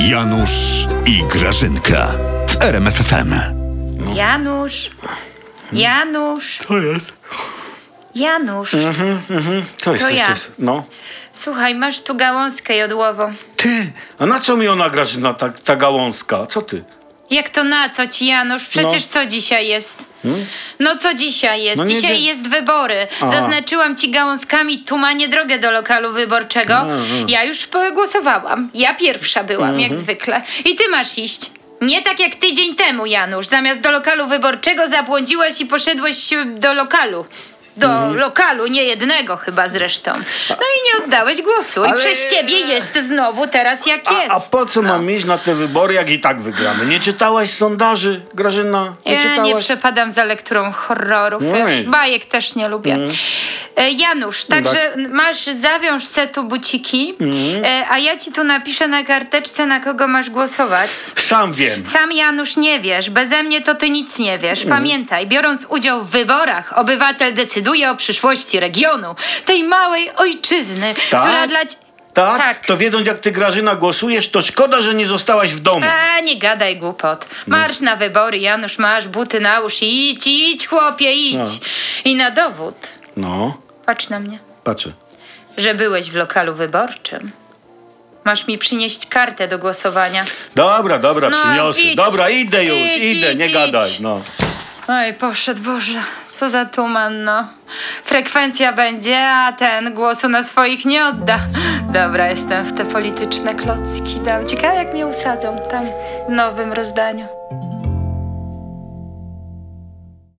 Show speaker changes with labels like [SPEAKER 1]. [SPEAKER 1] Janusz i Grażynka w RMFFM.
[SPEAKER 2] Janusz, Janusz,
[SPEAKER 3] To jest.
[SPEAKER 2] Janusz.
[SPEAKER 3] To jest,
[SPEAKER 2] To
[SPEAKER 3] to jest,
[SPEAKER 2] ja.
[SPEAKER 3] to jest. No.
[SPEAKER 2] Słuchaj, masz tu gałązkę jodłową.
[SPEAKER 3] Ty, a na co mi ona Grażyna, ta, ta gałązka? Co ty?
[SPEAKER 2] Jak to na co ci, Janusz? Przecież co dzisiaj jest? No co dzisiaj jest?
[SPEAKER 3] Hmm? No nie
[SPEAKER 2] dzisiaj
[SPEAKER 3] wiem.
[SPEAKER 2] jest wybory.
[SPEAKER 3] Aha.
[SPEAKER 2] Zaznaczyłam ci gałązkami tumanie drogę do lokalu wyborczego. Ja już e, głosowałam. Ja pierwsza byłam, jak
[SPEAKER 3] Mhm.
[SPEAKER 2] zwykle. I ty masz iść. Nie tak jak tydzień temu, Janusz. Zamiast do lokalu wyborczego zabłądziłaś i poszedłeś e, do lokalu. Do
[SPEAKER 3] Mhm.
[SPEAKER 2] lokalu, nie jednego chyba zresztą. No i nie oddałeś głosu. I
[SPEAKER 3] Ale-
[SPEAKER 2] przez ciebie jest znowu teraz jak jest. No.
[SPEAKER 3] A, a po co mam iść na te wybory, jak i tak wygramy? Nie czytałaś sondaży, Grażyna? Nie
[SPEAKER 2] Ja nie
[SPEAKER 3] czytałaś?
[SPEAKER 2] przepadam za lekturą horrorów.
[SPEAKER 3] Nie.
[SPEAKER 2] Bajek też nie lubię.
[SPEAKER 3] Mm.
[SPEAKER 2] E, Janusz, także masz, zawiąż se tu buciki,
[SPEAKER 3] Mm.
[SPEAKER 2] e, a ja ci tu napiszę na karteczce, na kogo masz głosować.
[SPEAKER 3] Sam wiem.
[SPEAKER 2] Sam Janusz nie wiesz, beze mnie to ty nic nie wiesz.
[SPEAKER 3] Mm.
[SPEAKER 2] Pamiętaj, biorąc udział w wyborach, obywatel decyduje o przyszłości regionu, tej małej ojczyzny,
[SPEAKER 3] Tak?
[SPEAKER 2] która dla... ci-
[SPEAKER 3] Tak?
[SPEAKER 2] Tak.
[SPEAKER 3] To wiedząc, jak ty, Grażyna, głosujesz, to szkoda, że nie zostałaś w domu.
[SPEAKER 2] A, nie gadaj głupot. Marsz na wybory, Janusz, masz buty na usz i idź, idź chłopie, idź. I na dowód,
[SPEAKER 3] No,
[SPEAKER 2] patrz na mnie,
[SPEAKER 3] patrzę.
[SPEAKER 2] że byłeś w lokalu wyborczym. Masz mi przynieść kartę do głosowania.
[SPEAKER 3] Dobra, dobra,
[SPEAKER 2] No,
[SPEAKER 3] przyniosę.
[SPEAKER 2] idź.
[SPEAKER 3] Dobra, idę już,
[SPEAKER 2] Idź,
[SPEAKER 3] idę,
[SPEAKER 2] idź,
[SPEAKER 3] nie
[SPEAKER 2] idź.
[SPEAKER 3] gadaj. No.
[SPEAKER 2] Oj, poszedł, Boże, co za tuman, no. Frekwencja będzie, a ten głosu na swoich nie odda. Dobra, jestem w te polityczne klocki. Dam. Ciekawe, jak mnie usadzą tam, w nowym rozdaniu.